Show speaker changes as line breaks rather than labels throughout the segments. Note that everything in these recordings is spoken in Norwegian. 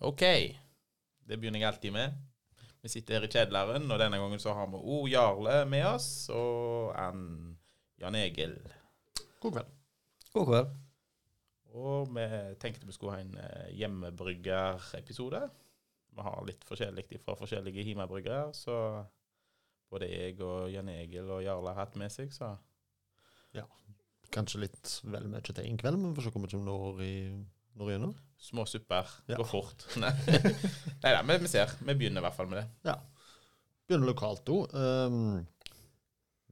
OK. Det begynner jeg alltid med. Vi sitter her i kjelleren, og denne gangen så har vi O. Jarle med oss, og Ann Jan Egil.
God kveld.
God kveld.
Og vi tenkte vi skulle ha en eh, hjemmebryggerepisode. Vi har litt forskjellig fra forskjellige hjemmebryggere, så både jeg og Jan Egil og Jarle har hatt med seg, så
Kanskje litt vel mye til en kveld, men vi får se hvor mye vi når i når gjennom.
små supper
Ja.
går fort. Nei da, men vi ser. Vi begynner i hvert fall med det.
Begynner lokalt òg. Um,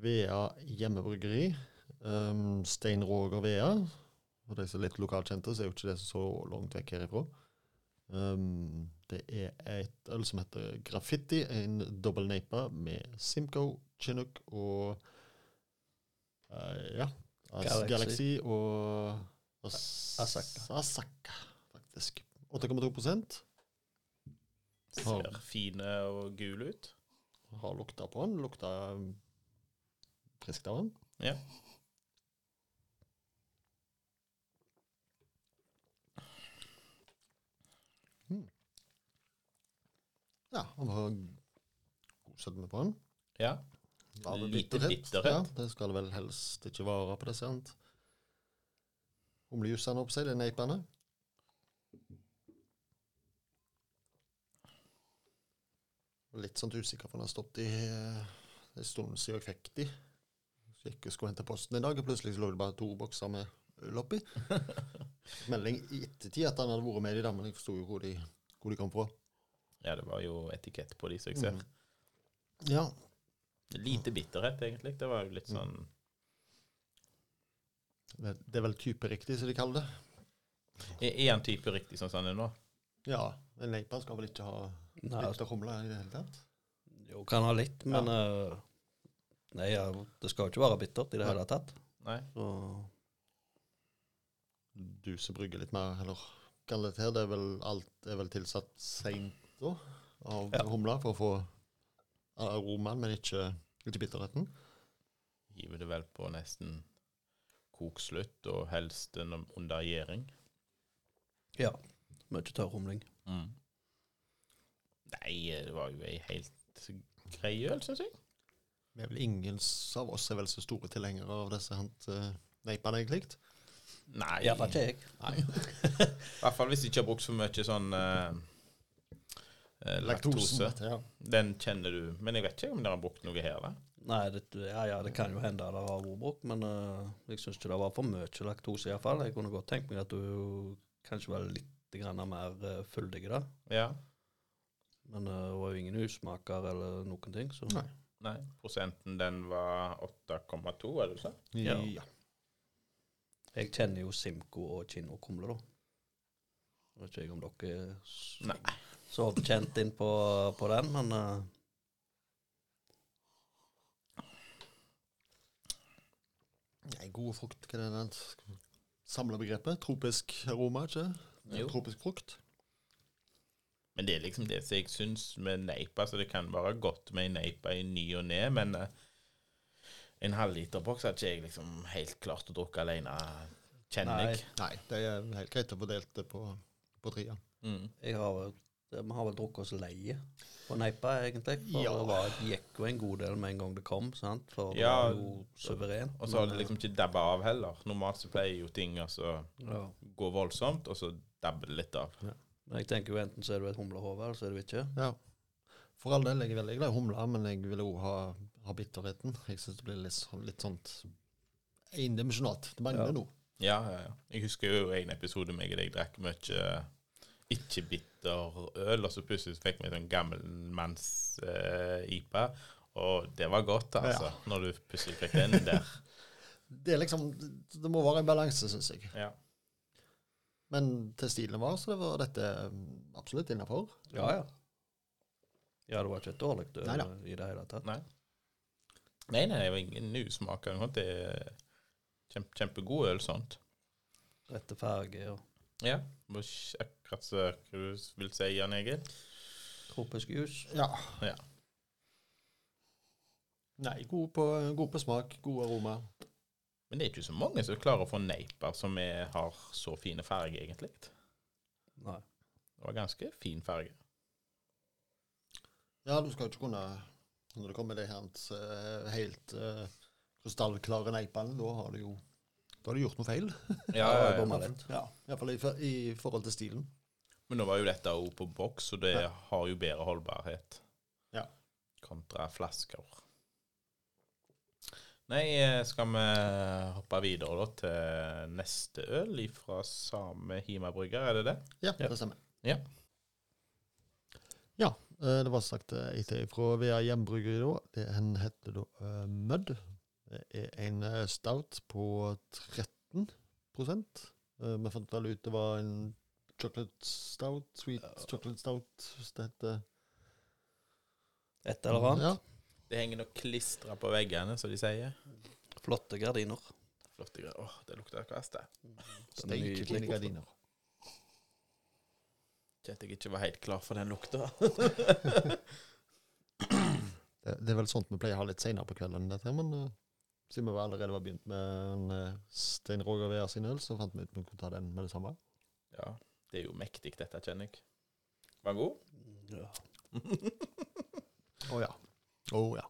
Vea hjemmebryggeri. Um, Stein Roger Vea. For de som er litt lokalt kjente, så er jo ikke det så langt vekk herifra. Um, det er et øl som heter Graffiti, en dobbel neipa med Simco, Chinook og eh, Ja. Galaxy.
Galaxy.
Galaxy og As-
Asaka.
Asaka, faktisk. 8,2
Ser fine og gule ut.
Har lukta på den. Lukta um, friskt av den.
Ja.
Mm. Ja, han var koset med på den.
Ja.
Var det
Lite
bitterhet?
bitterhet.
Ja, det skal det vel helst ikke være på det, sant? Humlejusene opp seg, det er neipene. Litt sånn usikker på om det har stått i eh, det er en stund siden jeg fikk de. Så gikk jeg og skulle hente posten i dag, og plutselig så lå det bare to bokser med øl oppi. Melding i ettertid at han hadde vært med i det, men jeg forsto jo hvor de, hvor de kom fra.
ja, det var jo etikett på de som jeg ser.
Mm. Ja,
Lite bitterhet, egentlig. Det var jo litt sånn
det det er vel typeriktig, som de kaller det.
Er en type riktig sånn som den er nå?
Ja, en leipa skal vel ikke ha
Nei, altså,
Litt å humle i det hele tatt?
jo, kan ha litt, men eh, Nei, ja, det skal jo ikke være bittert i det
Nei.
hele tatt.
Nei.
Så
Du som brygger litt mer, eller kan dette her, det er vel alt er vel tilsatt seint da, av
Ja.
humle for å få aromaen, men ikke, ikke bitterheten?
Hiver det vel på nesten kokslutt, og helst en under gjæring.
ja, mye tørrhumling.
Mm. Nei, det var jo ei helt grei øl, syns jeg.
Vi er vel ingen s- av oss er vel så store tilhengere av disse hent, eh, neipene, egentlig.
Nei.
Iallfall ikke jeg.
I hvert fall hvis du ikke har brukt for mye sånn eh, eh, laktose.
Laktosen, Ja.
Den kjenner du. Men jeg vet ikke om dere har brukt noe her, da.
Nei, det, ja, ja, det kan jo hende det har vært brukt, men eh, jeg syns ikke det var for mye laktose iallfall. Jeg kunne godt tenkt meg at du kanskje var litt grann mer eh, fyldig i det.
Ja.
Men eh, det var jo ingen usmaker eller noen ting, så
Nei.
Nei. Prosenten den var 8,2, er det du sa?
Ja.
Ja. Jeg kjenner jo Simco og Kinn og Kumle, da. Jeg vet ikke jeg om dere er s-
Nei.
så kjent inn på, på den, men eh,
Nei, god frukt, hva er det den samler begrepet? Tropisk aroma, ikke?
Jo.
Tropisk frukt?
Men det er liksom det som jeg syns med neipa. Så det kan være godt med en neipa i ny og ne, men eh, en halvliterboks har ikke jeg liksom helt klart å drukke alene, kjenner jeg.
Nei, det er helt greit å få delt det på, på trea.
Mm.
jeg har, vel- vi har vel drukket oss leie på Neipa, egentlig. For
Ja.
det var, det gikk jo en god del med en gang det kom, sant? for det
Ja.
var jo suverent.
Og så har det liksom ikke dabba av heller. Normalt så pleier jo ting å så
ja.
gå voldsomt, og så dabber det litt av.
Men jeg tenker jo enten så er du et humlehove, eller så er du ikke.
Ja. For all del, jeg er veldig glad i humle, men jeg vil òg ha, ha bitterheten. Jeg syns det blir litt, sånn- litt sånt endimensjonalt. Det mangler
Ja.
noe.
Ja, ja, ja. Jeg husker jo en episode meg og deg drakk mye ikke-bitter øl, og så plutselig fikk vi en sånn gammelmanns-IPA. og det var godt, altså, når du plutselig fikk den der.
Det er liksom, det det må være en balanse, syns jeg.
Ja.
Men til stilen var, så det var dette mm, absolutt innafor.
Ja, ja. Ja, det var ikke et dårlig øl
Neida.
i det hele tatt.
Nei. Nei, nei, det var ingen usmak. eller noe. Det er kjempe, kjempegod øl, sånt.
Rette farge og
Ja. Det var ikke Akkurat så hva du vil si, Jan Egil.
tropisk jus.
Ja.
Ja.
Nei, god på, god på smak, god aroma.
Men det er ikke så mange som klarer å få neiper som er, har så fine farger, egentlig.
Nei.
Det var ganske fin farge.
Ja, du skal jo ikke kunne Når det kommer de her eh, helt eh, krystallklare neipene, da har du jo Da har du gjort noe feil.
Ja,
det
ja,
var
ja.
bomma litt.
Ja, Iallfall i, for- i forhold til stilen.
Men nå var jo dette også på boks, og det
Ja.
har jo bedre holdbarhet.
Ja.
Kontra flasker. Nei, eh, skal vi hoppe videre da til neste øl fra samme Hima-brygger, er det det?
Ja,
Ja.
det stemmer.
Ja.
Ja, eh, det var sagt eh, et til fra VA Hjemmebryggeri da. Det Den heter da eh, Mud. Det er en eh, stout på 13 Eh, Vi fant vel ut det var en chocolate stout, sweet chocolate stout, hvis det heter
Et eller annet.
Mm, Ja.
Det henger nok klistra på veggene, som de sier.
Flotte gardiner.
Flotte greier. Åh, det lukter kvast, det.
Steike
Nydelig
fine
kort.
gardiner.
Kjente jeg ikke var helt klar for den lukta.
Det, det er vel sånt vi pleier å ha litt seinere på kvelden, enn dette, her, men eh, siden vi allerede var begynt med en eh, Stein Roger Vea sin øl, så fant vi ut vi kunne ta den med det samme.
ja, det er jo mektig, dette, kjenner jeg. Var den god?
Ja.
Å ja. Å ja.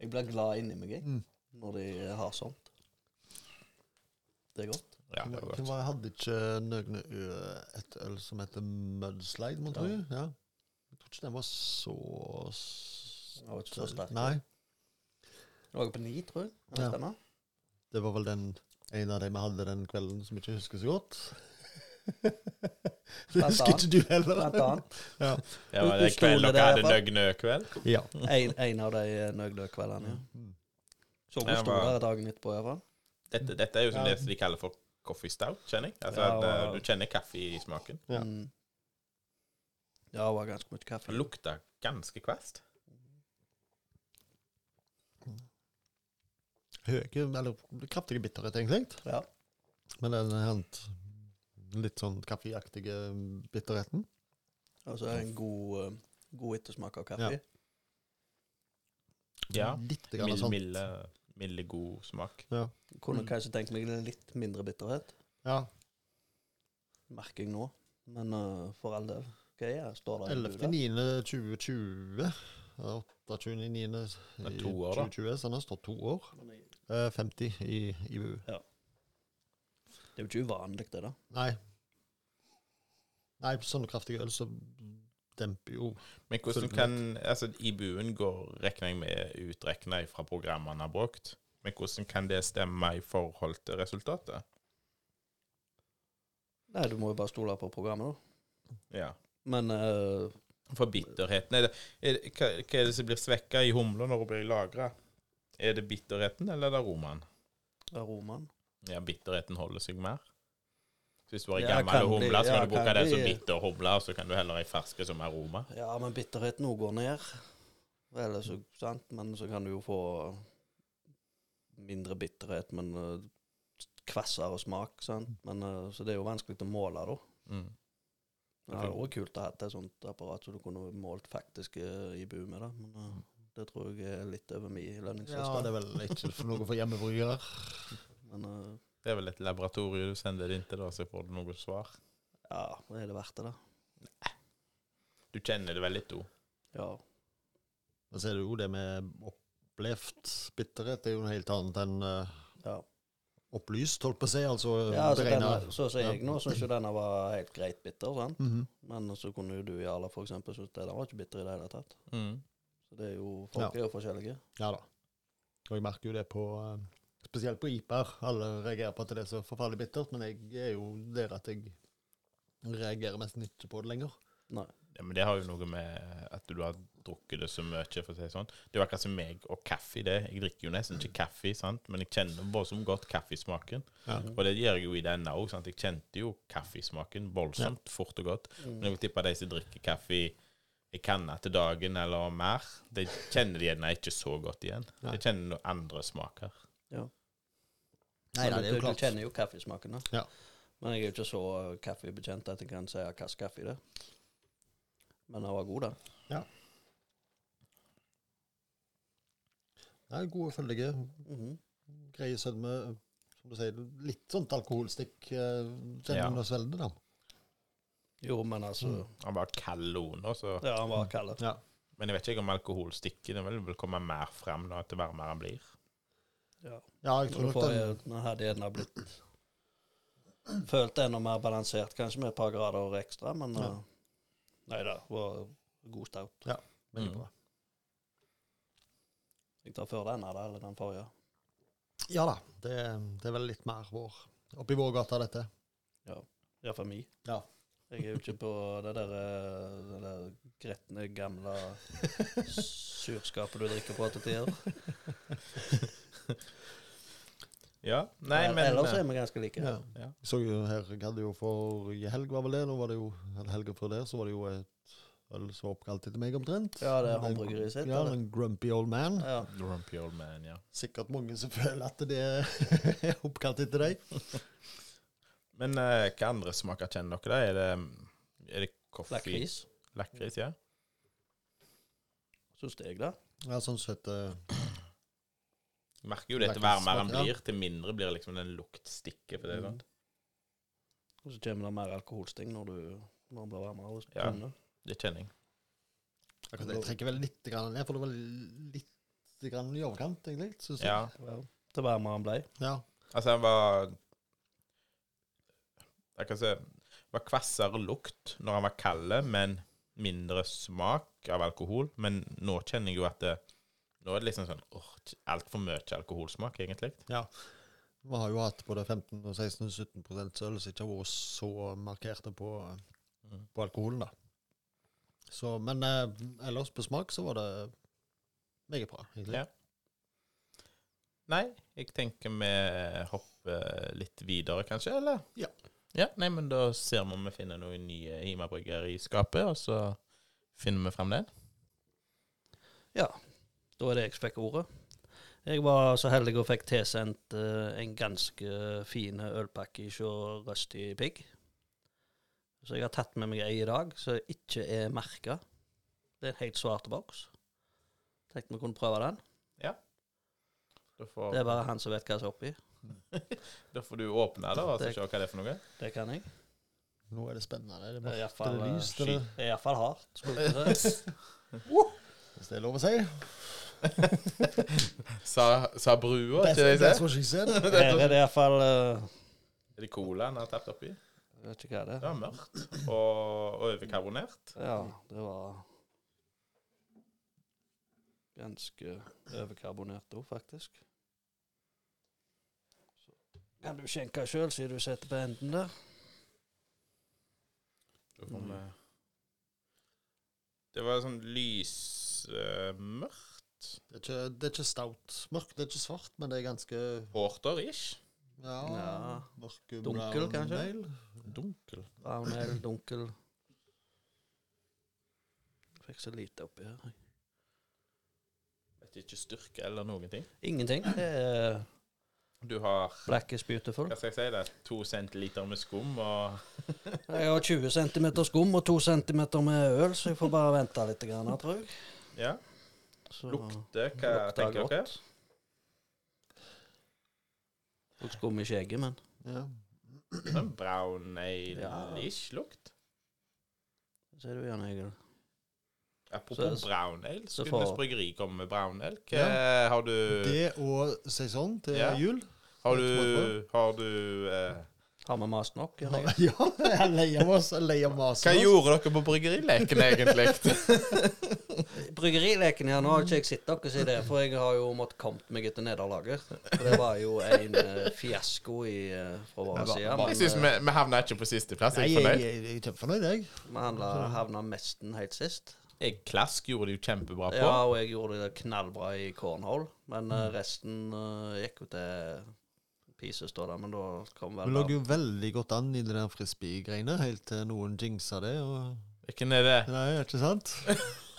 Jeg blir glad inni meg, jeg,
Mm.
når de har sånt. Det er godt.
Ja, det
Hva-
var
hvem
godt.
var- hadde ikke Nøgne Ø et øl som heter Mudslide, må tro? Ja. Jeg tror ikke den var så s-
Den var ikke så sterk.
Nei.
Det var på ni, tror jeg. Kan det
Ja.
stemme?
Det var vel den en av de vi hadde den kvelden som jeg ikke husker så godt. det
Blant
husker ikke du heller.
Blant annet.
Det var det
Du stoler
kvelden
der,
dere hadde eh,
i hvert
nøgnø-kveld?
Ja.
En, en av de nøgløkveldene. Ja.
Mm.
Så hun
Jeg
sto
var-
der dagen etterpå, iallfall.
Dette, dette er jo som
Ja.
det som de kaller for coffee stout, kjenner jeg. Altså
Ja,
at, eh,
og-
Du kjenner kaffe i smaken.
Ja.
Mm. Ja, det var ganske mye kaffe.
Det lukter ganske kvast.
Høye, eller kraftige bitterhet, egentlig.
Ja.
Men den hent litt sånn kaffeaktige bitterheten.
Og så en god, eh, god ettersmak av kaffe.
Ja.
Ja.
Litt grann
Mild,
sånn.
milde, milde, god smak.
Kunne
Mm.
kanskje tenkt meg litt mindre bitterhet,
Ja,
merker jeg nå. Men eh, for all del. Hva er det? Står det en bud der?
11.9.2020. 28.9.2020,
Det er to år, da.
så den har stått to år. Eh, 50 i IBU.
Det er jo ikke uvanlig, det, da.
Nei. Nei, på sånne kraftige øl så demper jo
Men hvordan
Følg
kan altså IBU-en går, regner jeg med, utregna fra programmene han har brukt. Men hvordan kan det stemme i forhold til resultatet?
Nei, du må jo bare stole på programmet, da.
Ja.
Men eh,
For bitterheten er det, er det, hva, hva er det som blir svekka i humla når hun blir lagra? Er det bitterheten, eller er det aromaen?
aromaen
Ja, bitterheten holder seg mer. Så hvis du har ei
Ja,
gammel
kan bli-
humle, så
ja,
kan du bruke
kan
den som
bli-
bitter humle, og så kan du heller ei ferske som aroma.
Ja, men bitterheten òg går ned. Eller så, sant, men så kan du jo få mindre bitterhet, men eh, kvassere smak, sant. Men, eh, så det er jo vanskelig å måle, da.
Mm.
Men Det hadde vært kult å ha et sånt apparat så du kunne målt faktisk eh, i bu med det. Men eh, det tror jeg er litt over min
Ja,
lønningsliste.
det er vel ikke for noe for hjemmebryggere.
men eh,
Det er vel et laboratorium du sender det inn til, da, så får du noe svar.
ja, er det verdt det, da?
Du kjenner det vel litt, du.
Ja.
Men så er det jo det med opplevd bitterhet. Det er jo noe helt annet enn eh,
ja.
opplyst, holdt på å si. Altså
ja altså,
beregna.
denne, så sier jeg nå, syns jo denne var helt greit bitter, sant.
Mhm.
Men så kunne jo du, Jarle, for eksempel, synes den var ikke bitter i det hele tatt.
Mm.
Så det er jo, folk
Ja.
er jo forskjellige.
Ja da. Og jeg merker jo det på eh, Spesielt på IPR. Alle reagerer på at det er så forferdelig bittert, men jeg er jo der at jeg reagerer nesten ikke på det lenger.
Ja, men det har jo noe med at du har drukket det så mye, for å si det sånn. Det er jo akkurat som meg og kaffe. det. Jeg drikker jo nesten ikke kaffe, sant? men jeg kjenner voldsomt godt kaffesmaken.
Ja.
Og det gjør jeg jo i denne òg. Jeg kjente jo kaffesmaken voldsomt fort og godt. Men jeg vil tippe de som drikker kaffe i kanna til dagen eller mer, de kjenner det gjerne ikke så godt igjen.
Nei.
De kjenner noen andre smaker.
Nei,
Men
nei, det er
du-
jo klart.
Du kjenner jo kaffesmaken, da.
Ja.
Men jeg er jo ikke så eh, kaffebetjent at jeg kan si hvilken kaffe det er. Men den var god, da.
Nei, gode, føldige,
Mhm.
greie sødme. Som du sier, litt sånt alkoholstikk eh, kjenner
Ja.
under svelget, da.
Jo, men altså
Han var kald under, så
Ja, han var kald.
Mm. Ja.
Men jeg vet ikke om alkohol stikker. Det vil vel komme mer frem da, etter varmere han blir.
Ja.
ja, jeg tror nok
Derfor
den
er- den hadde gjerne blitt Følt enda mer balansert, kanskje med et par grader ekstra, men
Ja.
eh, Nei da, var god stout.
veldig
Mm.
bra.
Jeg tar før denne, da, eller den forrige.
Ja da, det, det er vel litt mer vår. Oppi vår gata, dette.
Iallfall mi.
Ja.
Jeg er jo ikke på det der, eh, det der gretne, gamle surskapet du drikker på til tider.
Ja, nei, men
Ellers er vi ganske like.
eh, Ja.
Ja.
Jeg så jo her, jeg hadde jo forrige helg, var vel det, nå var det jo, eller helga før det, så var det jo et øl som var oppkalt etter meg omtrent.
Ja, det er
Den-
hamburgeriet sitt,
Ja,
eller?
den Grumpy Old Man.
Ja.
Grumpy old eh, man, ja.
Sikkert mange som føler at det er oppkalt etter deg.
Men eh, hva andre smaker kjenner dere, da? Er det, mm, er det koffe?
Lakris,
Lakris, ja.
syns jeg, da.
Ja, sånn søt eh,
Jeg merker jo det til
Lakris
varmere han
smaker, ja.
blir, til mindre blir liksom den luktstikke på det.
Mm.
sånn.
Og så kommer det mer alkoholsting når du når den blir varmere. og
Ja.
tunne.
Mm.
Det kjenner jeg.
akkurat det. Jeg trekker vel litt grann ned, for det var litt grann i overkant, egentlig, synes jeg.
Ja.
Ja. Til varmere han ble.
Ja.
Altså, han var Jeg kan si var kvassere lukt når han var kald, men mindre smak av alkohol. Men nå kjenner jeg jo at det, nå er det liksom sånn åh, altfor mye alkoholsmak, egentlig.
Vi har jo hatt både 15, og 16 og 17 prosent øl som ikke har vært så markerte på,
Mm.
på alkoholen, da. Så, men eh, ellers på smak så var det meget bra, egentlig.
Ja. Nei, jeg tenker vi hopper litt videre, kanskje, eller?
Ja.
Ja, Nei, men da ser vi om vi finner noen nye Hima-brygger i skapet, og så finner vi frem det.
Da er det jeg som fikk ordet. Jeg var så heldig og fikk tilsendt eh, en ganske fin ølpakke hos Rusty Pig. Så jeg har tatt med meg ei i dag som ikke er merka. Det er en helt svart boks. Tenkte vi kunne prøve den.
Da får,
Det er bare han som vet hva som er oppi.
da får du åpne da, og så
Det-
se hva det er for noe.
Det kan jeg.
Nå er det spennende. Det er
Det er
mørkt, det
iallfall
er lyst, det er-
iallfall hardt. smaker det.
hvis det er lov å si.
Sa, sa brua,
That's,
ikke det jeg ser?
that's what she said.
Her er det iallfall uh,
Er det cola han har tapt oppi?
Jeg vet ikke hva det
Det
er.
var mørkt og, og overkarbonert.
Ja, det var Ganske overkarbonert òg, faktisk. Så kan du skjenke sjøl, siden du sitter på enden der.
Da får vi- Det var sånn eh, lysmørkt.
Det er ikke, det er ikke stout mørkt, det er ikke svart, men det er ganske
Porter-ish.
ja,
Ja.
mørke
Dunkel,
brown
kanskje?
ale.
Dunkel.
Brown ale, dunkel. Fikk så lite oppi her. jeg.
Vet ikke styrke eller noen ting.
Ingenting. Det er
Du har
black is beautiful.
hva skal jeg si det, to centiliter med skum og
Jeg har 20 cm skum og 2 cm med øl, så jeg får bare vente litt, grann, her, tror jeg.
Ja.
Så
Lukter Hva tenker dere?
Lukter skum i skjegget, men
Ja.
Sånn brown ale-ish lukt.
så er det jo Jan Egil.
Apropos
Så-
brown ale,
så
Skudenes
får-
bryggeri kommer med brown ale. Hva,
Ja.
har du,
Det og sesong til
Ja.
jul.
har du, har du eh,
Har vi mast nok? Jan Egil?
Ja, jeg er lei av oss. Jeg er lei av maset.
Hva
vårt.
gjorde dere på bryggerileken, egentlig?
Bryggerileken her, nå har ikke jeg sett dere si det, for jeg har jo måttet kommet meg etter nederlaget. For det var jo en eh, fiasko i, eh, fra
Men
vår
hva-
side.
hva-
Jeg syns
Men
vi, vi havna ikke på sisteplass.
Nei,
Jeg er
jeg,
fornøyd.
jeg, jeg er kjempefornøyd, jeg.
eh, vi handla- havna mesten helt sist.
Jeg klask gjorde det jo kjempebra på.
Ja, og jeg gjorde det knallbra i cornhole, men eh,
Mm.
resten eh, gikk jo til pieces, da, da, men da kom
Vi
vel
lå jo veldig godt an i det der frisbee-greiene, helt til noen jinxa det. Og...
Hvilken er det?
Nei, ikke sant?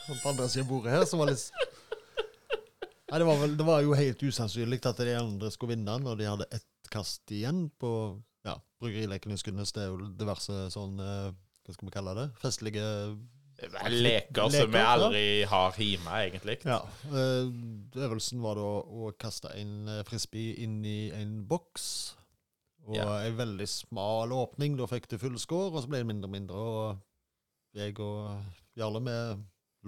Og på andre siden av bordet her, så var det litt Nei, det var, vel, det var jo helt usannsynlig at de andre skulle vinne når de hadde ett kast igjen på ja, Bryggerilekenes Skudenes. Det er jo diverse sånn eh, Hva skal vi kalle det? Festlige
Det er Leker som vi
Leker, ja.
aldri har hjemme, egentlig.
Ja. eh, øvelsen var da å kaste en eh, frisbee inn i en boks, Og
Ja.
ei veldig smal åpning. Da fikk du full score, og så ble det mindre og mindre. Og jeg og Jarle vi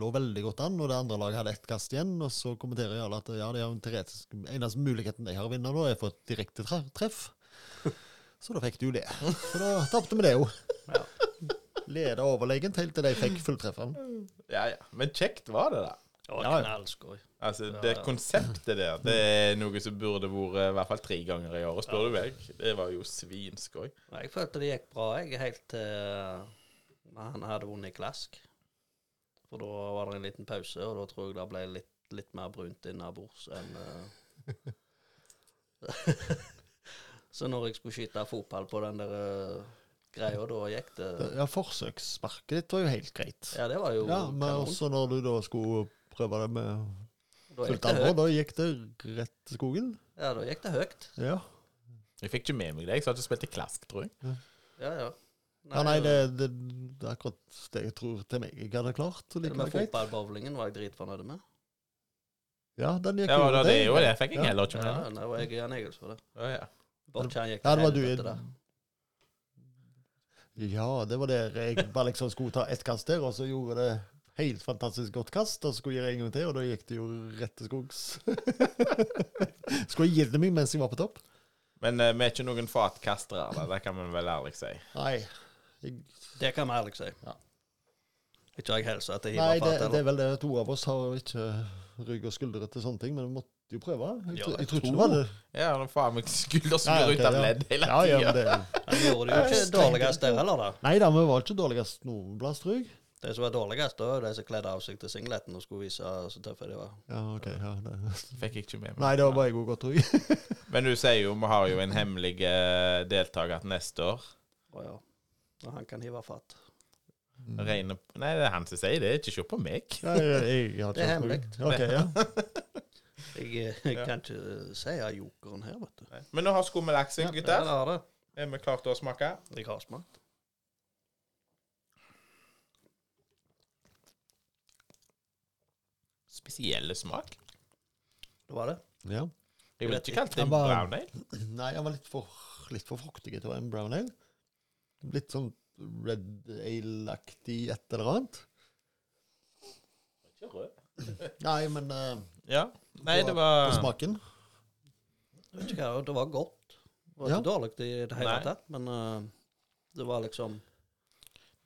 lå veldig godt an, og det andre laget hadde ett kast igjen. Og så kommenterer Jarle at ja, det er jo en teoretisk eneste muligheten jeg har å vinne nå, er for et direkte tre- treff. Så da fikk du det. Så da tapte vi det jo.
Ja.
Leda overlegent helt til de fikk fulltrefferen.
Ja, ja. Men kjekt var det, da.
Og
Ja, ja.
knallskår.
Altså,
Ja,
Det
ja.
konseptet der det er noe som burde vært eh, i hvert fall tre ganger i året, spør du meg. Det var jo svinsk òg.
Nei, Jeg følte det gikk bra, jeg, helt til men han hadde vunnet klask. For da var det en liten pause, og da tror jeg det ble litt, litt mer brunt innabords enn eh. Så når jeg skulle skyte fotball på den der eh, greia, da gikk det
Ja, forsøkssparket ditt var jo helt greit.
Ja, det var jo
Ja, men
kanon.
også når du da skulle prøve det med
Da gikk
fullt
det
alvor,
høyt.
da gikk det rett til skogen.
Ja, da gikk det høyt.
Ja.
Jeg fikk ikke med meg det. Jeg sa at jeg spilte klask, tror jeg.
Ja, ja.
Nei, ja, nei det, det, det er akkurat det jeg tror til meg jeg hadde klart. Og
Til og
like
med
greit.
fotballbowlingen var jeg dritfornøyd med.
Ja, den gikk
Ja,
jo
da, det er jo det. Fikk
Ja.
jeg heller ikke
Ja,
med meg.
nei, det var jeg Jan Egils for det.
Å, ja.
Bortkjær gikk
Ja, det var du
til
i-
helvete der.
Ja, det var der jeg bare liksom skulle ta ett kast der, og så gjorde det helt fantastisk godt kast, og så skulle jeg gjøre en gang til, og da gikk det jo rett til skogs. skulle jeg gitt det meg mens jeg var på topp?
Men eh, vi er ikke noen fatkastere, da. det kan man vel ærlig si.
Nei. Jeg,
Det kan vi ærlig si.
Ja.
Ikke har jeg helsa at jeg
nei, det,
hiver fat
det er
heller.
vel det. To av oss har ikke rygg og skuldre til sånne ting, men vi måtte jo prøve. Jeg, tro-
Ja, jeg
jeg tror ikke
tror-
det var det.
Ja, nå faen meg skulder
Ja,
skrur
ok,
ut av
ja.
ledd hele
Ja, ja, men
tida.
det,
Han gjorde det jo ikke dårligst der heller, da.
nei da, vi var ikke dårligst noen plass, tror jeg.
De som var dårligst, da var de som kledde av seg til singleten og skulle vise så tøffe de var.
Ja, ok. Ja, det.
Fikk jeg ikke med meg.
Nei, det var bare jeg òg, tror jeg.
Men du sier jo vi har jo en hemmelig eh, deltaker til neste år.
Å ja. Og han kan hive fatt.
Mm.
Regne på Nei, det er han som sier det, ikke se på meg.
Nei, jeg, jeg, jeg har ikke
Det er
hørt
hemmelig.
noe. Ok, ja.
Jeg, eh, jeg kan ikke si jeg er jokeren her, vet du.
Men nå har skummet lagt seg,
Ja,
gutter.
det har det.
Er vi klare til å smake?
Jeg har smakt.
Spesielle smak.
Det var det.
ja.
Jeg ville
Rett i.
ikke kalt det
Jeg
en
bare-
brown ale.
Nei, han var litt for, litt for fruktig til å være en brown ale. Litt sånn red ale-aktig et eller annet.
Ikke rød.
Nei, men eh,
Ja. Nei, det var
på smaken
Jeg vet ikke hva, det var godt. Det var
Ja.
ikke dårlig i det hele
Nei.
tatt, men eh, det var liksom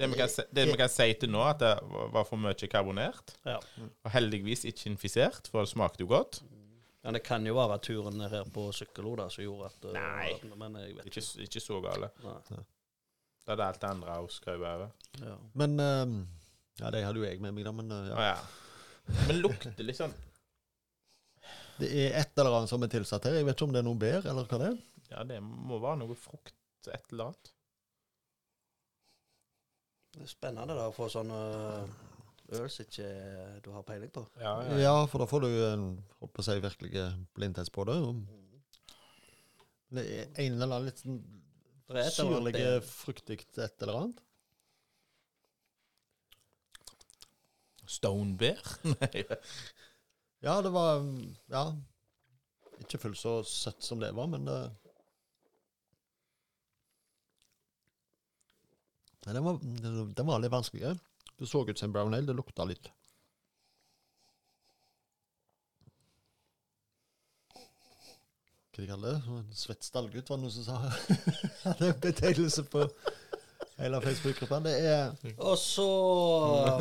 det vi, kan, si- det vi kan si til nå, at det var for mye karbonert.
Ja.
Og heldigvis ikke infisert, for det smakte jo godt.
Men det kan jo være turen ned her på Sykkelo da, som gjorde at eh,
Nei.
Men jeg vet
Ikke, ikke så gale.
Nei.
Da hadde alt det andre å skrive over.
Ja.
Men eh, Ja, det hadde jo jeg med meg, da, men eh, ja.
Å ja. Men lukter litt sånn
Det er et eller annet som er tilsatt her. Jeg vet ikke om det er noe bær, eller hva det er.
Ja, det må være noe frukt, et eller annet.
Det er spennende da, å få sånn øh, øl som ikke du har peiling på.
Ja,
Ja, for da får du en holdt på å si virkelig blindtest på det. og Det er en eller annen litt sånn
Det er et eller annet
syrlige,
bedre.
fruktig et eller annet.
Stonebeer? Nei.
Ja, det var mm, Ja. Ikke fullt så søtt som det var, men det Nei, den var, den- den var litt vanskeligere. Det så ut som en brown ale. Det lukta litt. Hva de kaller det? En svett stallgutt, var det noen som sa. det er en betegnelse på hele Facebook-gruppa. Det er
Og så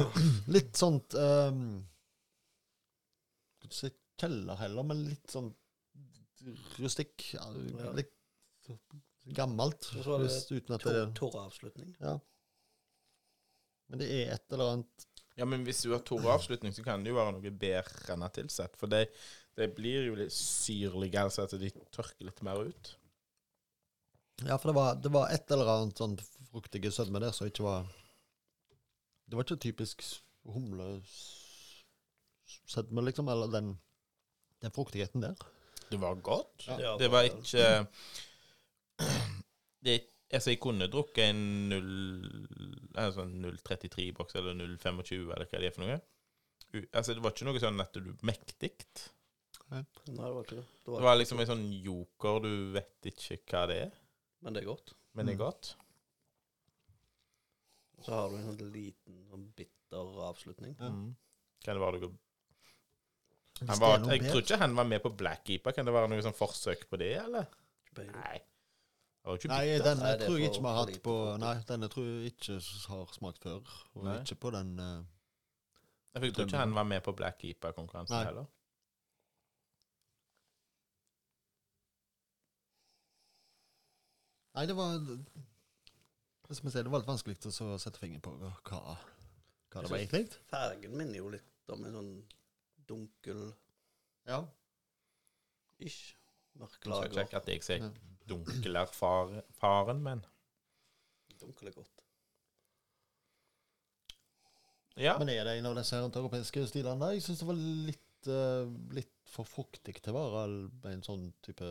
Mm.
Litt sånt um, Skal ikke si kjeller heller, men litt sånn rustikk. ja,
Ja.
Litt gammelt.
Og så er det
hvis- uten at det
to-
er
Torre-avslutning.
Men det er et eller annet
Ja, men hvis du har tor avslutning, så kan det jo være noe bedre enn tilsett. For de, de blir jo litt syrlige, altså at de tørker litt mer ut.
Ja, for det var, det var et eller annet sånn fruktige sødme der som ikke var Det var ikke typisk humlesødme, liksom, eller den, den fruktigheten der.
Det var godt.
Ja.
Det var ikke det, Altså, jeg kunne drukket en 0 altså en 033-boks eller 025 eller hva det er for noe. U- Altså, det var ikke noe sånn at du mektig. Det
Nei, det var ikke det. Det var,
var liksom en sånn joker, du vet ikke hva det er.
men det er godt.
Men det er
Mm.
godt.
Så har du en sånn liten sånn bitter avslutning.
Ja.
Mm. Kan det være noe
Hvis
han
det er
var,
noe
Jeg
bedre-
tror ikke han var med på Black Keeper. Kan det være noe sånn forsøk på det, eller? Nei. Det var jo ikke
Nei,
bitter.
denne
Nei, det er
tror jeg
for-
ikke vi har
for
hatt
lite
på
fokus.
Nei, denne tror jeg ikke s- har smakt før. Og
Nei.
ikke på den eh,
Jeg tror ikke han var med på Black Keeper-konkurransen
Nei.
heller.
Nei, det var det, som jeg sier, det var litt vanskelig å så sette fingeren på hva, hva
Jeg
det var
synes-
egentlig.
Fargen minner jo litt om en sånn dunkel-ish.
Ja.
Jeg
Mørk
skal
lager.
sjekke at jeg ser
Ja.
dunkelerfaren, men
Dunkel er godt.
Ja.
Men er det en av disse her europeiske stilene? der? Jeg syns det var litt, eh, litt for fuktig til å være en sånn type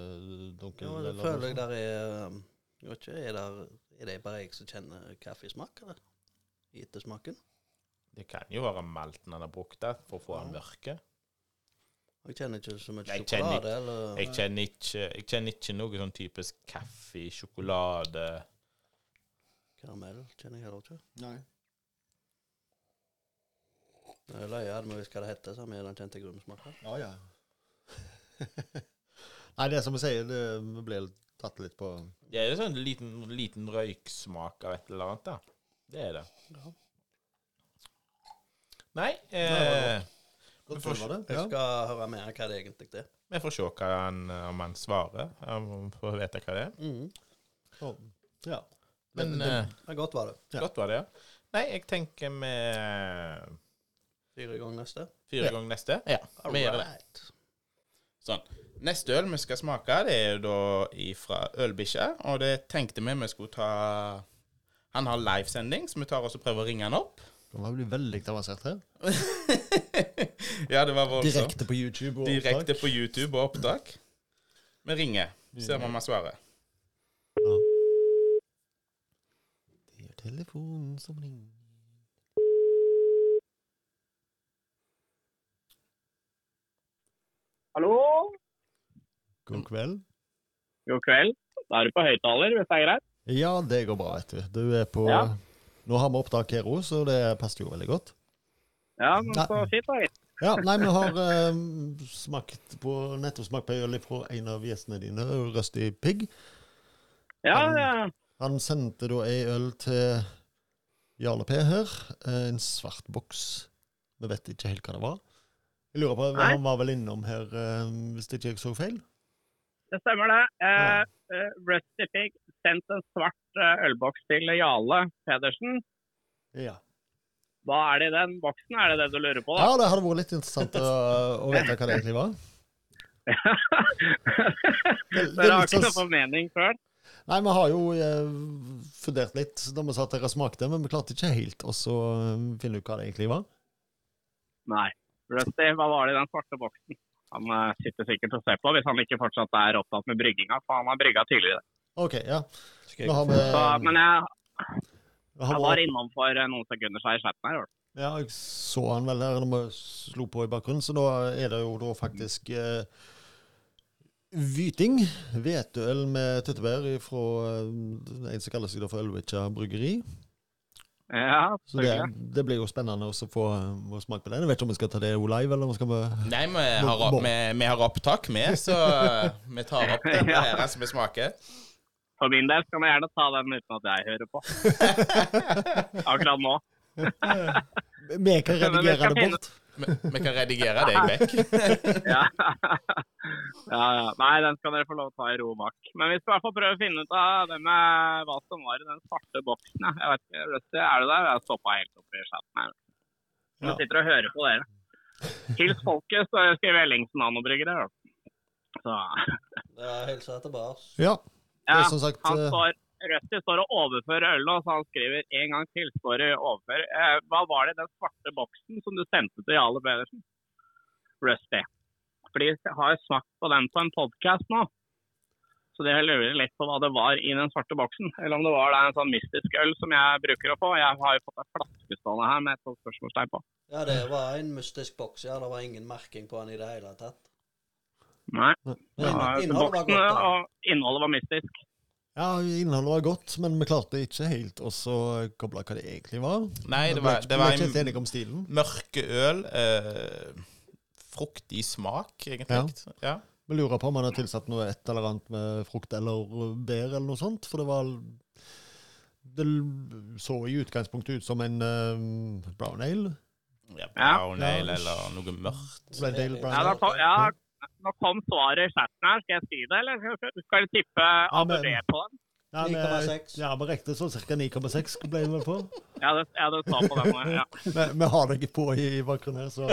dunkel.
Jo, det
eller noe
føler
sånt.
jeg der er um, Jeg vet ikke, er, der, er det bare jeg som kjenner kaffesmak, eller? I ettersmaken?
Det kan jo være malten han har brukt der for å få han
Ja.
mørke.
Jeg kjenner ikke så mye
Jeg kjenner
sjokolade, eller
Jeg kjenner ikke, jeg kjenner ikke noe sånn typisk kaffe, sjokolade
karamell. kjenner jeg heller ikke.
Nei.
Jeg er løye, hadde vi visst hva det heter, så har vi den kjente grumsmaken.
Ja, ja. Nei, det er som jeg sier, det, vi ble tatt litt på
Det er jo sånn liten, liten røyksmak av et eller annet, da. Det er det.
Ja.
Nei, eh,
Nei,
Men for-
Var det?
Jeg skal høre mer hva det egentlig er.
vi får se hva han, om han svarer. Om vi får vite hva det er.
Mm.
Ja. ja.
Men
Det- det-
eh,
Ja, godt var det.
ja.
godt var det, ja. Nei, jeg tenker vi eh,
Fire ganger neste.
fyrer i
Ja.
gang neste. Ja, vi gjør det.
Alright.
Sånn. Neste øl vi skal smake, det er jo da fra Ølbikkja, og det tenkte vi vi skulle ta Han har livesending, så vi tar oss og prøver å ringe han opp.
Det må bli veldig avansert her.
ja, det var voldsomt.
Direkte på YouTube. og
Direkte
opptak.
på YouTube og opptak. Vi ringer. Ser om han svarer.
Ja. Det er telefonen som ringer.
Hallo,
God kveld.
god kveld. Da er du på høyttaler, hvis det er greit.
Ja, det går bra, vet du. Du er på
Ja.
Nå har vi opptak her òg, så det passer jo veldig godt.
Ja, men
Nei.
så fint da. gitt.
Ja, nei, vi har eh, smakt på, nettopp smakt på øl fra en av gjestene dine, Rusty Pig.
Ja,
Mm.
ja.
Han sendte da ei øl til Jarle P her. eh, En svart boks. Vi vet ikke helt hva det var. Jeg lurer på,
Nei.
Han var vel innom her, eh, hvis ikke jeg så feil?
det stemmer det. Eh,
Ja.
eh, Rusty Pig sendte en svart eh, ølboks til Jale Pedersen.
Ja.
Hva er det i den boksen, er det det du lurer på da?
ja, det hadde vært litt interessant å, å vite hva det egentlig var. Det, det
Dere
er
har
litt
ikke noe
sånn,
formening før.
nei, vi har jo eh, fundert litt da vi sa at dere smakte, men vi klarte ikke helt å så, eh, finne ut hva det egentlig var.
Nei. Rusty, hva var det i den svarte boksen? Han eh, sitter sikkert og ser på hvis han ikke fortsatt er opptatt med brygginga, for han har brygga tidligere.
OK, ja.
Skal
Nå
jeg
har vi
Så, men jeg,
nå har
jeg
vi-
var innom for eh, noen sekunder siden i chatten her.
Ja, jeg så han vel her når vi slo på i bakgrunnen, så da er det jo da faktisk eh, Vyting. Hveteøl med tyttebær fra eh, en som kaller seg da for Ølvitja bryggeri.
Ja,
Så det,
selvfølgelig.
det blir jo spennende også å få eh, å smake på den. Jeg vet ikke om vi skal ta det live, eller om vi skal vi
Nei, vi har, opp, vi, vi har opptak med, så eh, vi tar opp den
Ja.
her som vi smaker.
For min del skal man gjerne ta den uten at jeg hører på. Akkurat nå.
Vi kan
Men vi
redigere
skal
det
finne-
bort.
Vi, vi kan redigere deg vekk.
Ja. ja, ja. Nei, den skal dere få lov å ta i ro bak. Men vi skal i hvert fall prøve å finne ut av det med hva som var i den svarte boksen. ja. Jeg vet ikke, Rusty, er du der? Jeg stoppa helt oppe i chatten her.
Ja.
Jeg sitter og hører på dere. Hils folket, så skriver Ellingsen Nanobryggere. da. Så,
Det er hilsa tilbake.
Ja, det
ja,
er som sagt
han
eh,
står, Rusty står og overfører øl nå, så han skriver en gang til. står og overfører. Eh, hva var det i den svarte boksen som du sendte til Jarle Pedersen? Rusty. For de har smakt på den på en podkast nå. Så de lurer litt på hva det var i den svarte boksen. Eller om det var da en sånn mystisk øl som jeg bruker å få. Jeg har jo fått en flaske stående her med et sånt spørsmålstegn på.
Ja, det var en mystisk boks, ja. Det var ingen merking på den i det hele tatt.
Nei,
Nei.
det var,
innholdet var
altså, boksen
godt, da.
og innholdet var mystisk.
Ja, innholdet var godt, men vi klarte ikke helt å så koble hva det egentlig var.
Nei, det
Vi
var,
ikke-
det
vi
var
ikke helt
en
enige om stilen.
mørke øl. Eh, fruktig smak, egentlig. Ja.
Vi lurer på om han har tilsatt noe et eller annet med frukt eller bær eller noe sånt, for det var Det l- så i utgangspunktet ut som en eh, brown ale.
ja.
Ja.
Brown ale eller noe mørkt.
Red ale, brown
Ja, da
ale.
kom, ja, nå kom svaret i chatten her. Skal jeg si det, eller skal du- skal du tippe ABV
men-
på den?
Ja, men- eh,
9,6.
Ja, vi rekte så ca. 9,6 ble vi vel på.
Ja, det, ja, det sa på den. ja. Ja.
Vi, vi har deg på i bakgrunnen her, så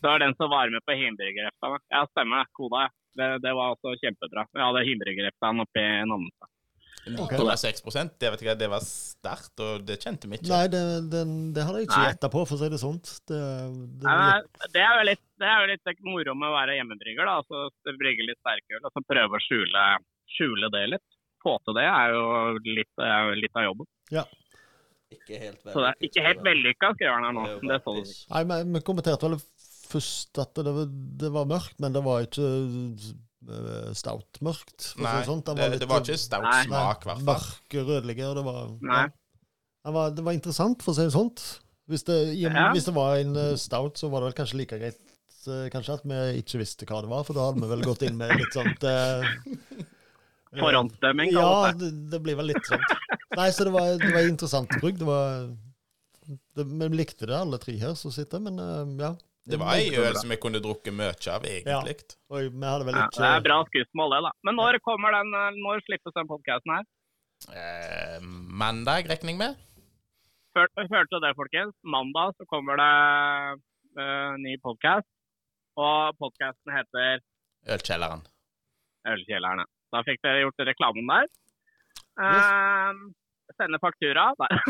Det var den som var med på Himbergrefta. da. Ja, stemmer det. Koda, ja. Det, det var altså kjempebra. Vi hadde Himbergreftaen oppi Namsa.
9,6 det vet jeg, ikke, det var sterkt, og det kjente vi ikke.
Nei, det, den, det hadde jeg ikke
Nei.
gjetta på, for å si det sånn. Det, det,
Nei, Det er jo litt, det er jo litt det moro med å være hjemmebrygger. da. Altså, Brygge litt sterkøl og så prøve å skjule, skjule det litt. Få til det er jo litt, er jo litt av jobben.
Ikke helt
Så det er ikke helt vellykka, skriver han her nå.
Det er jo
Det sånn
bare
så du.
piss.
nei, men vi kommenterte vel først at det, var- det var mørkt, men det var ikke eh, stout mørkt. For å si
Nei,
det, sånn.
det, det var ikke stout
Nei.
smak, i hvert fall.
Mørke, rødlige, og det var,
Nei.
ja. det var Det var interessant, for å si det sånn. Hvis det, i-
Ja.
hvis det var en eh, stout, så var det vel kanskje like greit eh, kanskje at vi ikke visste hva det var, for da hadde vi vel gått inn med litt sånt eh, eh,
Forhåndsdømming,
Ja,
kalles det.
det, det blir vel litt sånn. Nei, så det var, det var interessant bruk. Det var det, Vi likte det, alle tre her som sitter, men eh, ja.
Det var ei øl som jeg kunne drukket mye av, egentlig.
Oi, vi hadde vel
Ja,
ikke
det er bra skussmål, det, da. Men når kommer den, eh, når slippes den podkasten her?
Eh, mandag regner jeg med.
Før- Hørte det, folkens. Mandag så kommer det eh, ny podkast. Og podkasten heter
Ølkjelleren.
Ølkjellerne. Da fikk dere gjort reklamen der. Ehm, sende faktura. Nei.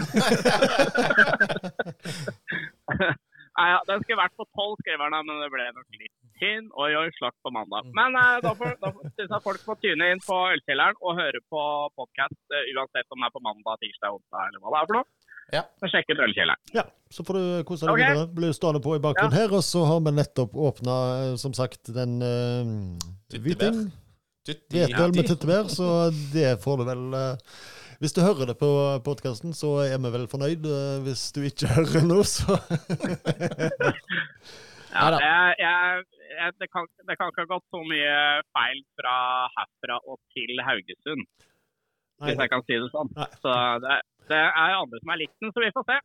Nei, ja, den skulle vært på tolv, skrev han, da, men det ble nok litt tynn. Oi, oi, slakk på mandag. Men eh, da, får, da får- synes jeg folk må tyne inn på Ølkjelleren og høre på podkast uansett om det er på mandag, tirsdag, onsdag eller hva det er for noe.
Ja.
Så sjekk ut Ølkjelleren.
Ja, så får du kose deg
Ok.
videre. Blir stående på i bakgrunnen her, og så har vi nettopp åpna, som sagt, den uh,
Tyttebær.
hviting.
Tutti
Hvetøl med
hatti.
tyttebær, så det får du vel eh, Hvis du hører det på podkasten, så er vi vel fornøyd. eh, Hvis du ikke hører noe, så
Ja,
Neida.
jeg, jeg, jeg, det, kan, det kan ikke ha gått så mye feil fra herfra og til Haugesund, hvis jeg kan si det sånn.
Nei.
Så det, det er andre som har likt den, så vi får se.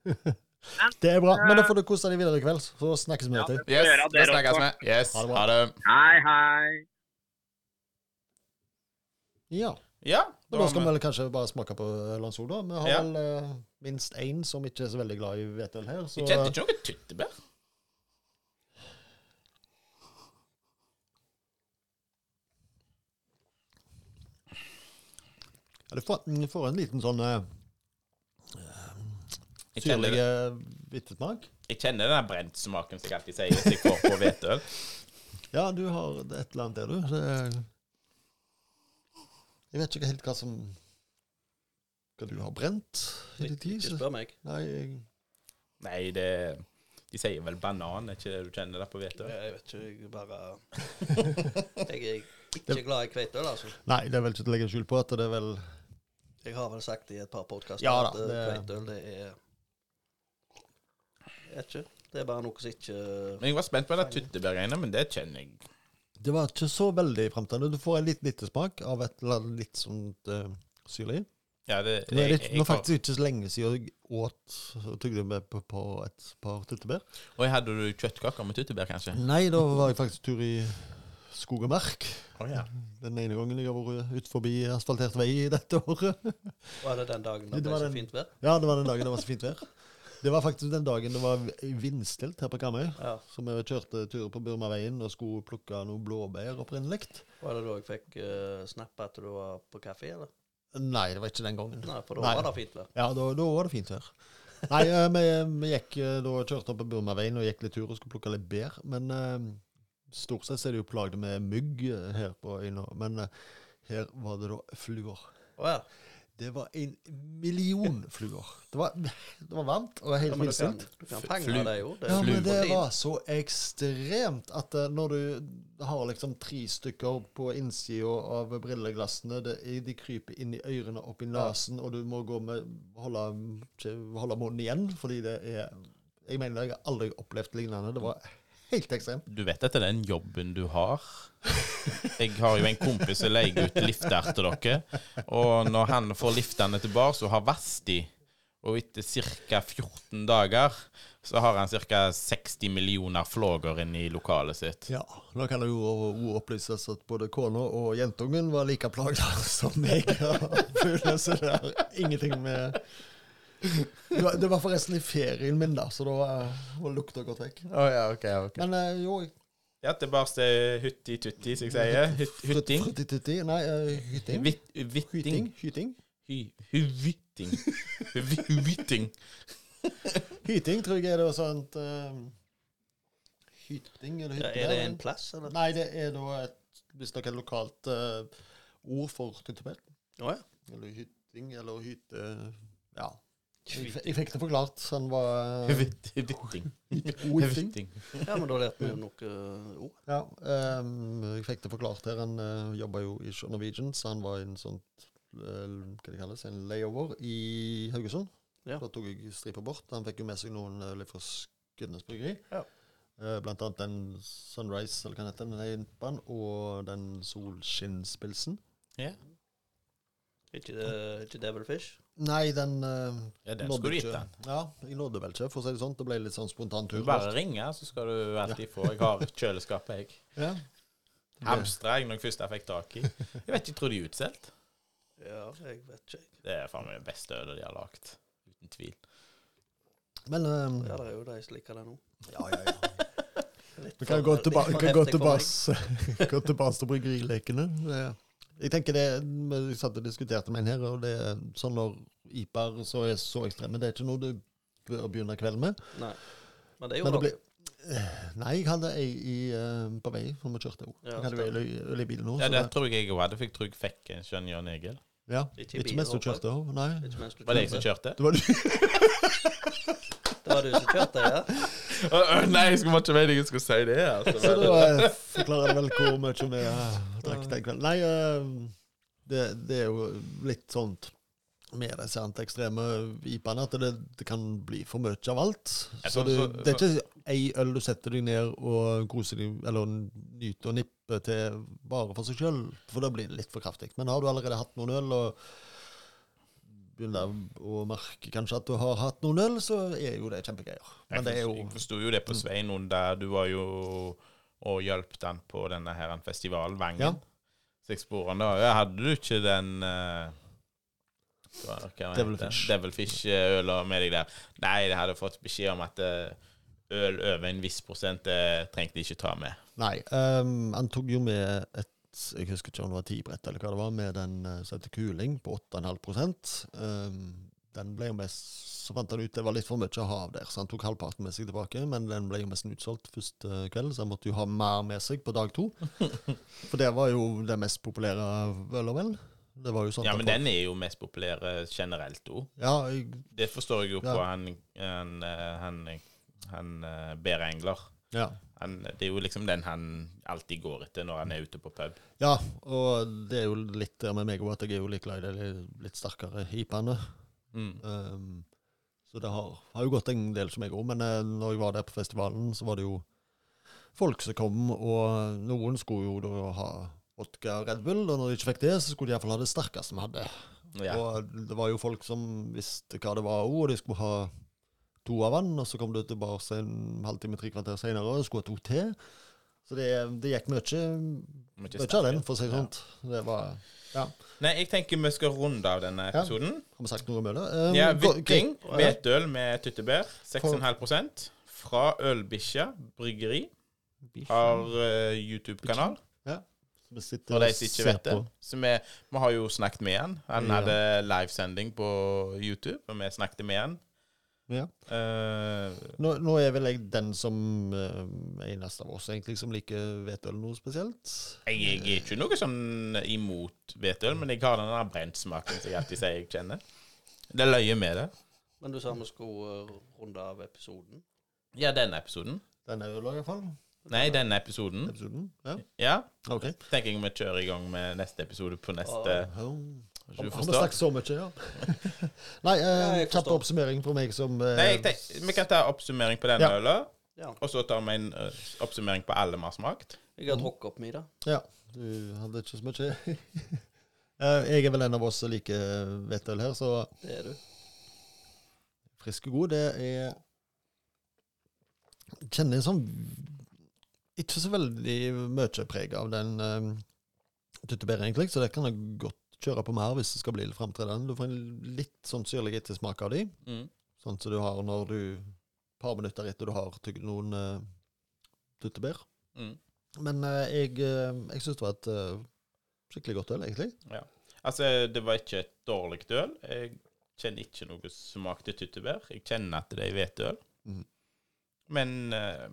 Det er bra. Men da får du kose deg videre i kveld, så snakkes vi
Ja.
etter.
Yes,
Gjør av
det
dere
snakkes
også.
vi. Yes,
Ha det bra.
ha det.
Hei, hei.
Ja.
Ja,
Men da skal vi vel kanskje bare smake på Lanzol, da. Vi har
Ja.
vel eh, minst én som ikke er så veldig glad i hvetøl her, så eh,
Jeg kjente ikke noe tyttebær.
ja, du får, du får en liten sånn uh,
Jeg
syrlig
kjenner,
eh, hvittesmak.
jeg kjenner den der brentsmaken som jeg alltid sier hvis jeg får på hvetøl.
Ja, du har et eller annet der, du. Det er, jeg vet ikke helt hva som Hva du har brent i din tid.
Ikke
så-
spør meg.
Nei, jeg-
Nei, det De sier vel banan, er ikke det du kjenner der på hvetøl?
Jeg vet ikke, jeg bare Jeg er ikke glad i kveitøl, altså.
nei, det er vel ikke til å legge skjul på at det er vel
Jeg har vel sagt i et par podkaster
Ja da,
at eh,
det-
kveitøl, det er Jeg vet ikke. Det er bare noe som ikke eh,
Men jeg var spent på det tyttebærgreiene, men det kjenner jeg.
Det var ikke så veldig fremtredende. Du får en liten hvittesmak av et eller annet litt sånt eh, syrlig.
Ja, det,
Nå er
jeg, jeg,
det nå er det
får-
faktisk ikke så lenge siden jeg åt og tygde med på, på et par tyttebær.
Oi, hadde du kjøttkaker med tyttebær, kanskje?
Nei, da var jeg faktisk tur i skog og mark.
Å ja.
Den ene gangen jeg har vært ut forbi asfaltert vei i dette året.
Var det den dagen
Det
det ble
var
så
den-
fint vær?
Ja, det var den dagen det var så fint vær. Det var faktisk den dagen det var vindstilt her på Karmøy.
Ja.
Så vi kjørte turer på Burmaveien og skulle plukke noen blåbær opprinnelig.
Var det da jeg fikk uh, snappe at du var på kafé, eller?
Nei, det var ikke den gangen.
Nei, for da
Nei.
var det fint vær.
Ja, da, da var det fint vær. Nei, eh, vi, vi gikk eh, da kjørte opp på Burmaveien og gikk litt tur og skulle plukke litt bær. Men eh, stort sett så er det jo plagd med mygg eh, her på øyna. Men eh, her var det da fluer.
Å ja.
Det var en million fluer. Det var, det var varmt og helt
Ja, men du kan,
vilt.
du kan
Fl-
fange
flu-
det jo. Det
Ja,
er jo
men det
fint.
var så ekstremt at eh, når du har liksom tre stykker på innsida av brilleglassene, det, er- de kryper inn i ørene, opp i nesen, og du må gå med holde, ikke, holde munnen igjen fordi det er Jeg mener, jeg har aldri opplevd lignende. Det var helt ekstremt.
Du vet at det er den jobben du har. Jeg har jo en kompis som leier ut lifter til dere. Og når han får liftene tilbake, så har Vasti Og etter ca. 14 dager så har han ca. 60 millioner flåger inne i lokalet sitt.
Ja, Nå kan det jo o- opplyses at både kona og jentungen var like plaga som meg. av fuglene, Så det har ingenting med Det var- Det var forresten i ferien min, da, så da var, var lukta gått vekk.
Oh, ja, ok, ok.
Men eh, jo,
Ja, tilbake til hutti-tutti, som jeg sier. Hyt- Hytting.
Frutti tutti? Nei, eh, hytting.
Hvit- Hvitting.
Hyting. Hyting.
Hy- Hvitting. Hvi- Hvitting.
Hyting tror jeg er det sånt eh, Hyting eller
Ja,
hytte?
er det
eller?
en plass, eller?
Nei, det er da et visstnok et lokalt eh, ord for tuttepel.
Å ja.
Eller hyting, eller hyte... Ja. Jeg, f- jeg fikk det forklart. så Han var eh,
Hvitt- Hvitting.
Hyting.
Hvitting.
ja, men da lærte vi jo noe eh, ord.
Ja, ehm, jeg fikk det forklart her. Han uh, jobba jo i Show Norwegian, så han var i en sånn hva det kalles, en layover i Haugesund.
Ja.
Da tok jeg stripa bort. Han fikk jo med seg noen øl fra Skudenes bryggeri.
Ja.
Eh, blant annet den Sunrise, eller hva den heter, den er inne på han, og den Solskinnspilsen.
Ikke, det- ikke Devilfish.
Nei, den uh,
Ja, den skulle du gitt den.
Ja, jeg nådde vel ikke, for å si det sånn. Det ble litt sånn spontan
Du
tur.
bare ringer, så skal du alltid få. Jeg har kjøleskapet, jeg.
Ja.
Hamstra jeg når jeg først fikk tak i. Jeg vet ikke, tror de er utsolgt.
Ja, jeg vet ikke. jeg.
Det er faen meg det beste ølet de har lagd. Uten tvil.
Men ehm,
Ja, det er jo de som liker det nå.
ja, ja, ja.
Litt
Vi kan
for-
gå
litt
tilba-
for
kan gå
heftig for meg.
tilbake gå tilbake til bryggerilekene. Det- Jeg tenker det, jeg satt og diskuterte med en her, og det er sånn når IPA-er så er så ekstreme, det er ikke noe du bør begynne kvelden med.
Nei. Men det er jo
Men det
noe.
ble- Nei, jeg hadde ei i, eh, på vei, for vi kjørte òg.
Ja,
Jeg hadde jo øl i- øl i bilen nå.
Ja,
så
det
det-
tror jeg jeg òg hadde. for Jeg tror jeg fikk en skjønn Jan Egil.
ja.
Ikke i
Ikke
bilen,
mens du
håper jeg.
kjørte òg, nei.
Ikke mens du
Var det jeg
kjørte.
som kjørte?
Det var du.
Det var du som kjørte, ja?
Å, å, Nei, jeg skulle var ikke meningen jeg skulle si det. Altså.
Så da eh, forklarer det vel hvor mye vi eh, drakk den kvelden. Nei, eh, det, det er jo litt sånt med disse ekstreme IPA-ene at det, det kan bli for mye av alt.
Ja, så-
Så du,
så-
det er ikke ei øl du setter deg ned og koser deg eller nyter og nipper til bare for seg sjøl, for da blir det litt for kraftig. Men har du allerede hatt noen øl og begynner å merke kanskje at du har hatt noen øl, så er jo det kjempegreier. Men det er jo Mm.
Jeg forsto jo det på Svein under Du var jo og hjalp den på denne her festivalen, Vangen.
Ja.
Så jeg spurte han da ja, Hadde du ikke den eh, hva, hva heter det?
Devilfish.
Devilfish-øla med deg der? Nei, jeg hadde fått beskjed om at eh, øl over en viss prosent det trengte de ikke ta med.
Nei, ehm, han tok jo med et jeg husker ikke om det var tibrett eller hva det var, med den eh, som heter kuling på 8,5 Ehm, Den ble jo mest Så fant han ut det var litt for mye å ha av der, så han tok halvparten med seg tilbake. Men den ble jo nesten utsolgt første eh, kveld, så han måtte jo ha mer med seg på dag to. For det var jo det mest populære ølet, vel? Det var jo sånn
Ja,
at
men
folk-
den er jo mest populær eh, generelt òg.
Ja, jeg,
Det forstår jeg jo
Ja.
på han, han, eh, han, han eh, Bære Engler.
ja.
Han, det er jo liksom den han alltid går etter når han er ute på pub.
Ja, og det er jo litt der med meg òg, at jeg er jo litt glad i de litt sterkere hipene.
Mm.
Um, så det har, har jo gått en del som jeg òg, men eh, når jeg var der på festivalen, så var det jo folk som kom, og noen skulle jo da ha vodka og Red Bull, og når de ikke fikk det, så skulle de iallfall ha det sterkeste vi hadde.
Ja.
Og det var jo folk som visste hva det var òg, og de skulle ha to av vann, og så kom du tilbake en halvtime, tre kvarter seinere og skulle ha to til. Så det, det gikk mye,
Må ikke
mye av
snakke.
den, for å si det
Ja.
sånn. Det var
Nei, jeg tenker vi skal runde av denne
Ja.
episoden.
Har vi sagt noe om det? Um,
Ja,
gå-
Vitting.
Ja.
Hvetøl med tyttebær. 6,5 Fra Ølbikkja bryggeri. Har eh, YouTube-kanal,
Vi sitter
for de
og
som ikke
ser
vet det.
på.
Så vi, vi har jo snakket med han. Han
Ja.
hadde livesending på YouTube, og vi snakket med han.
Ja.
Eh,
Nå, nå er vel jeg den som eh, eneste av oss egentlig som liker hvetøl noe spesielt.
jeg, jeg er ikke noe sånn imot hvetøl, men jeg har den der brentsmaken som jeg alltid sier jeg kjenner. Det løyer med det.
Men du sa vi skulle eh, runde av episoden.
Ja, denne episoden.
Denne ølen, i hvert fall.
Nei, denne episoden.
Episoden. Ja,
Ja.
ok.
Tenker jeg vi kjører i gang med neste episode på neste
Ja.
Um,
Du
Har vi
forstår?
snakket så mye, ja? Nei, eh,
jeg
kjapp
forstår.
oppsummering fra meg som eh,
Nei, jeg tenk- vi kan ta oppsummering på denne
Ja.
ølen,
Ja.
og så tar vi en eh, oppsummering på alle vi har smakt.
Jeg har drukket opp middag.
Ja, du hadde ikke så mye. Eh, jeg er vel en av oss som liker hvetøl her, så
Det er du.
frisk og god, det er Jeg Kjenner sånn Ikke så veldig mye preg av den um, tyttebæren, egentlig, så det kan jeg godt kjøre på med her hvis det skal bli litt framtredende. Du får en litt sånn syrlig ettersmak av de,
Mm.
sånn som du har når du et par minutter etter du har tygd noen eh, tyttebær.
Mm.
Men eh, jeg, uh, jeg syns det var et eh, skikkelig godt øl, egentlig.
Altså, det var ikke et dårlig øl. Jeg kjenner ikke noe smak til tyttebær. Jeg kjenner at det er hvetøl.
Mhm.
Men eh,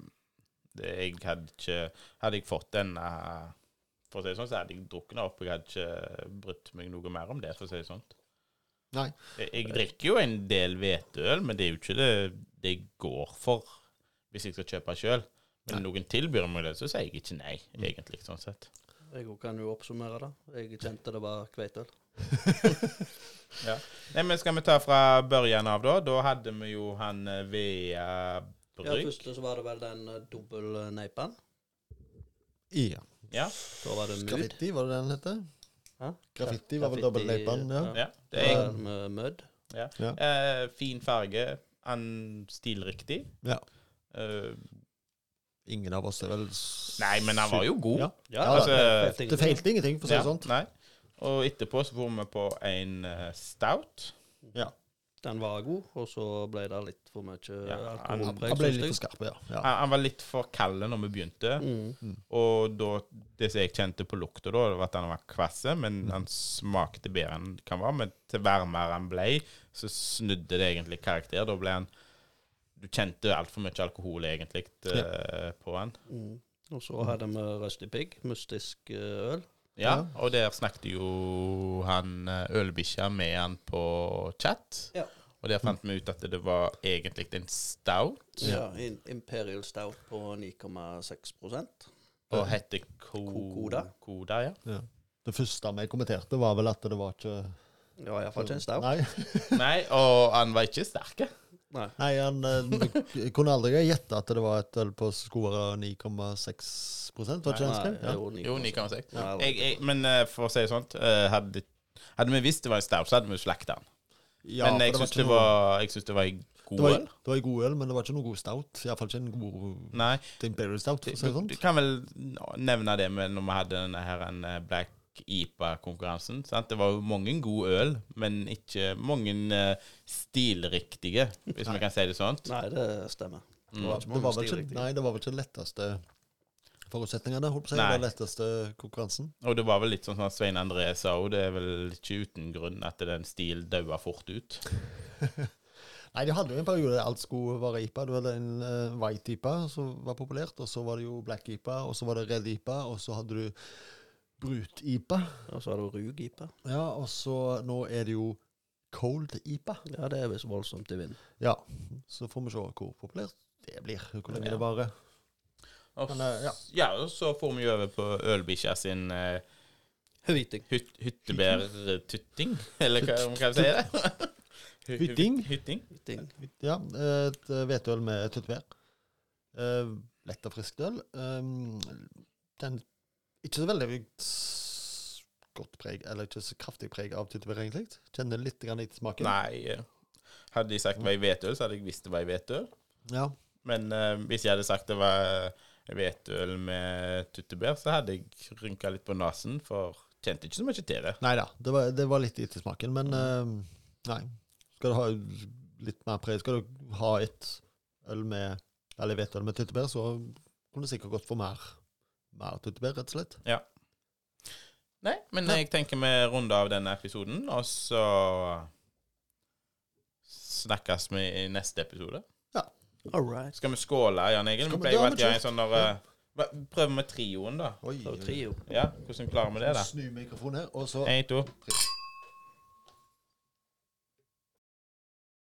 det, jeg hadde ikke Hadde jeg fått denne For å si det sånn, så hadde jeg drukket den opp. Jeg hadde ikke brydd meg noe mer om det, for å si det sånn.
Nei.
Jeg, jeg drikker jo en del hvetøl, men det er jo ikke det, det jeg går for hvis jeg skal kjøpe sjøl. Men noen tilbyr meg det, så sier jeg ikke nei, egentlig, sånn sett.
Jeg også kan jo oppsummere det. Jeg kjente det var kveitøl.
Nei, men Skal vi ta fra børjen av, da? Da hadde vi jo han eh, Vea
Ja,
Brygg.
først så var det vel den eh, dobbelneipen.
Ja.
Ja,
Så var det mud.
Graffiti, var det den heter?
Hæ?
Graffiti var vel dobbeltleipen, ja.
ja. Det
Det
er
var med mud.
eh, fin farge. Han stilriktig.
Ja.
Eh,
Ingen av oss er vel
nei, men han var jo god.
Ja.
Ja,
Ja,
altså,
Det feilte ingenting, for å si det
ja,
sånn.
Nei. Og etterpå så får vi på en eh, stout.
Den var god, og så ble det litt for mye
Ja,
Han
alkoholpreg.
han ble
synes
litt for
jeg.
skarp, ja. ja.
Han, han var litt for kald når vi begynte.
Mm.
Og da, det som jeg kjente på lukta, da, det var at han var kvasse, men han smakte bedre enn han var. Men til varmere han ble, så snudde det egentlig karakter. Da ble han Du kjente altfor mye alkohol egentlig eh, på han.
Mm. Og så hadde vi Rusty Pig, mystisk eh, øl.
Ja,
Ja.
og der snakket jo han eh, ølbikkja med han på chat.
Ja.
Og der fant vi ut at det var egentlig en stout,
Ja, in- Imperial Stout på 9,6
og het ko
Kokoda.
Koda, ja.
Det første vi kommenterte, var vel at det var ikke
Ja, iallfall ikke en stout.
Nei,
Nei, og han var ikke sterk.
Nei.
nei han eh, kunne aldri gjette at det var et øl på skoa 9,6 var ikke det han
Nei,
skrev? Ja.
jo,
Jo,
9,6.
9,6.
Ja,
jeg, jeg, men eh, for å si det sånt, eh, hadde, hadde vi visst det var en stout, så hadde vi jo slakta den.
Ja, for
men jeg
var
syns
ikke
det,
noe-
var- jeg syns det var en
det
god
var,
øl.
det var en god øl, men det var ikke noe god stout. Iallfall ikke en god
Nei.
Imperial Stout, for å si det
Du,
sånn.
du kan vel nevne det med når vi hadde denne her en eh, Black IPA-konkurransen. sant? Det var jo mange gode øl, men ikke mange eh, stilriktige, hvis vi kan si det sånn.
Nei, det stemmer.
Mm.
var
Det var vel
stil,
ikke,
riktig.
nei, det var vel ikke den letteste forutsetningen, det, holdt på å si.
Nei.
Den letteste konkurransen.
Og det var vel litt sånn som Svein André sa òg, det er vel ikke uten grunn at den stil daua fort ut.
Nei, de hadde jo en periode der alt skulle være IPA. Du hadde en eh, white IPA som var populært, og så var det jo black IPA, og så var det red IPA, og så hadde du brut IPA.
Og så er det ruggipe.
Ja, og så nå er det jo cold IPA.
Ja, det er visst voldsomt i vind.
Ja, så får vi se hvor populært det blir, hvor lenge
Ja.
det varer.
Og,
Men, eh, ja.
s- ja, og så får vi jo over på Ølbikkja sin eh,
Høyting.
hyt, hyttebærtutting, eller hva man kan si det.
Hytting?
Hytting.
Høyting.
Ja, et eh, hvetøl med tyttebær. Eh, Lett og friskt øl. Um, Den ikke så veldig s- godt preg, eller ikke så kraftig preg av tyttebær, egentlig. Kjenner litt grann litt smaken.
Nei. eh, Hadde de sagt hva jeg vet øl, så hadde jeg visst det var jeg vet øl.
Ja.
Men eh, hvis jeg hadde sagt det var hvetøl med tyttebær, så hadde jeg rynka litt på nesen, for kjente ikke så mye til det.
Nei da, det var, det var litt etter smaken, men eh, nei. Skal du ha litt mer preg, skal du ha et øl med Eller hvetøl med tyttebær, så kunne du sikkert gått for mer, mer tyttebær, rett og slett.
Nei, men jeg tenker vi runder av denne episoden, og så Snakkes vi i neste episode?
All right.
Skal vi skåle, Jan Egil?
Skal
Vi
vi-
pleier jo
ja, men
alltid å ha en
kjør.
sånn der eh, hva- Prøver vi trioen, da?
Oi,
Det var trio.
Ja, Hvordan klarer vi det, da?
Snu mikrofonen her, og så
Én, to.
Prikk.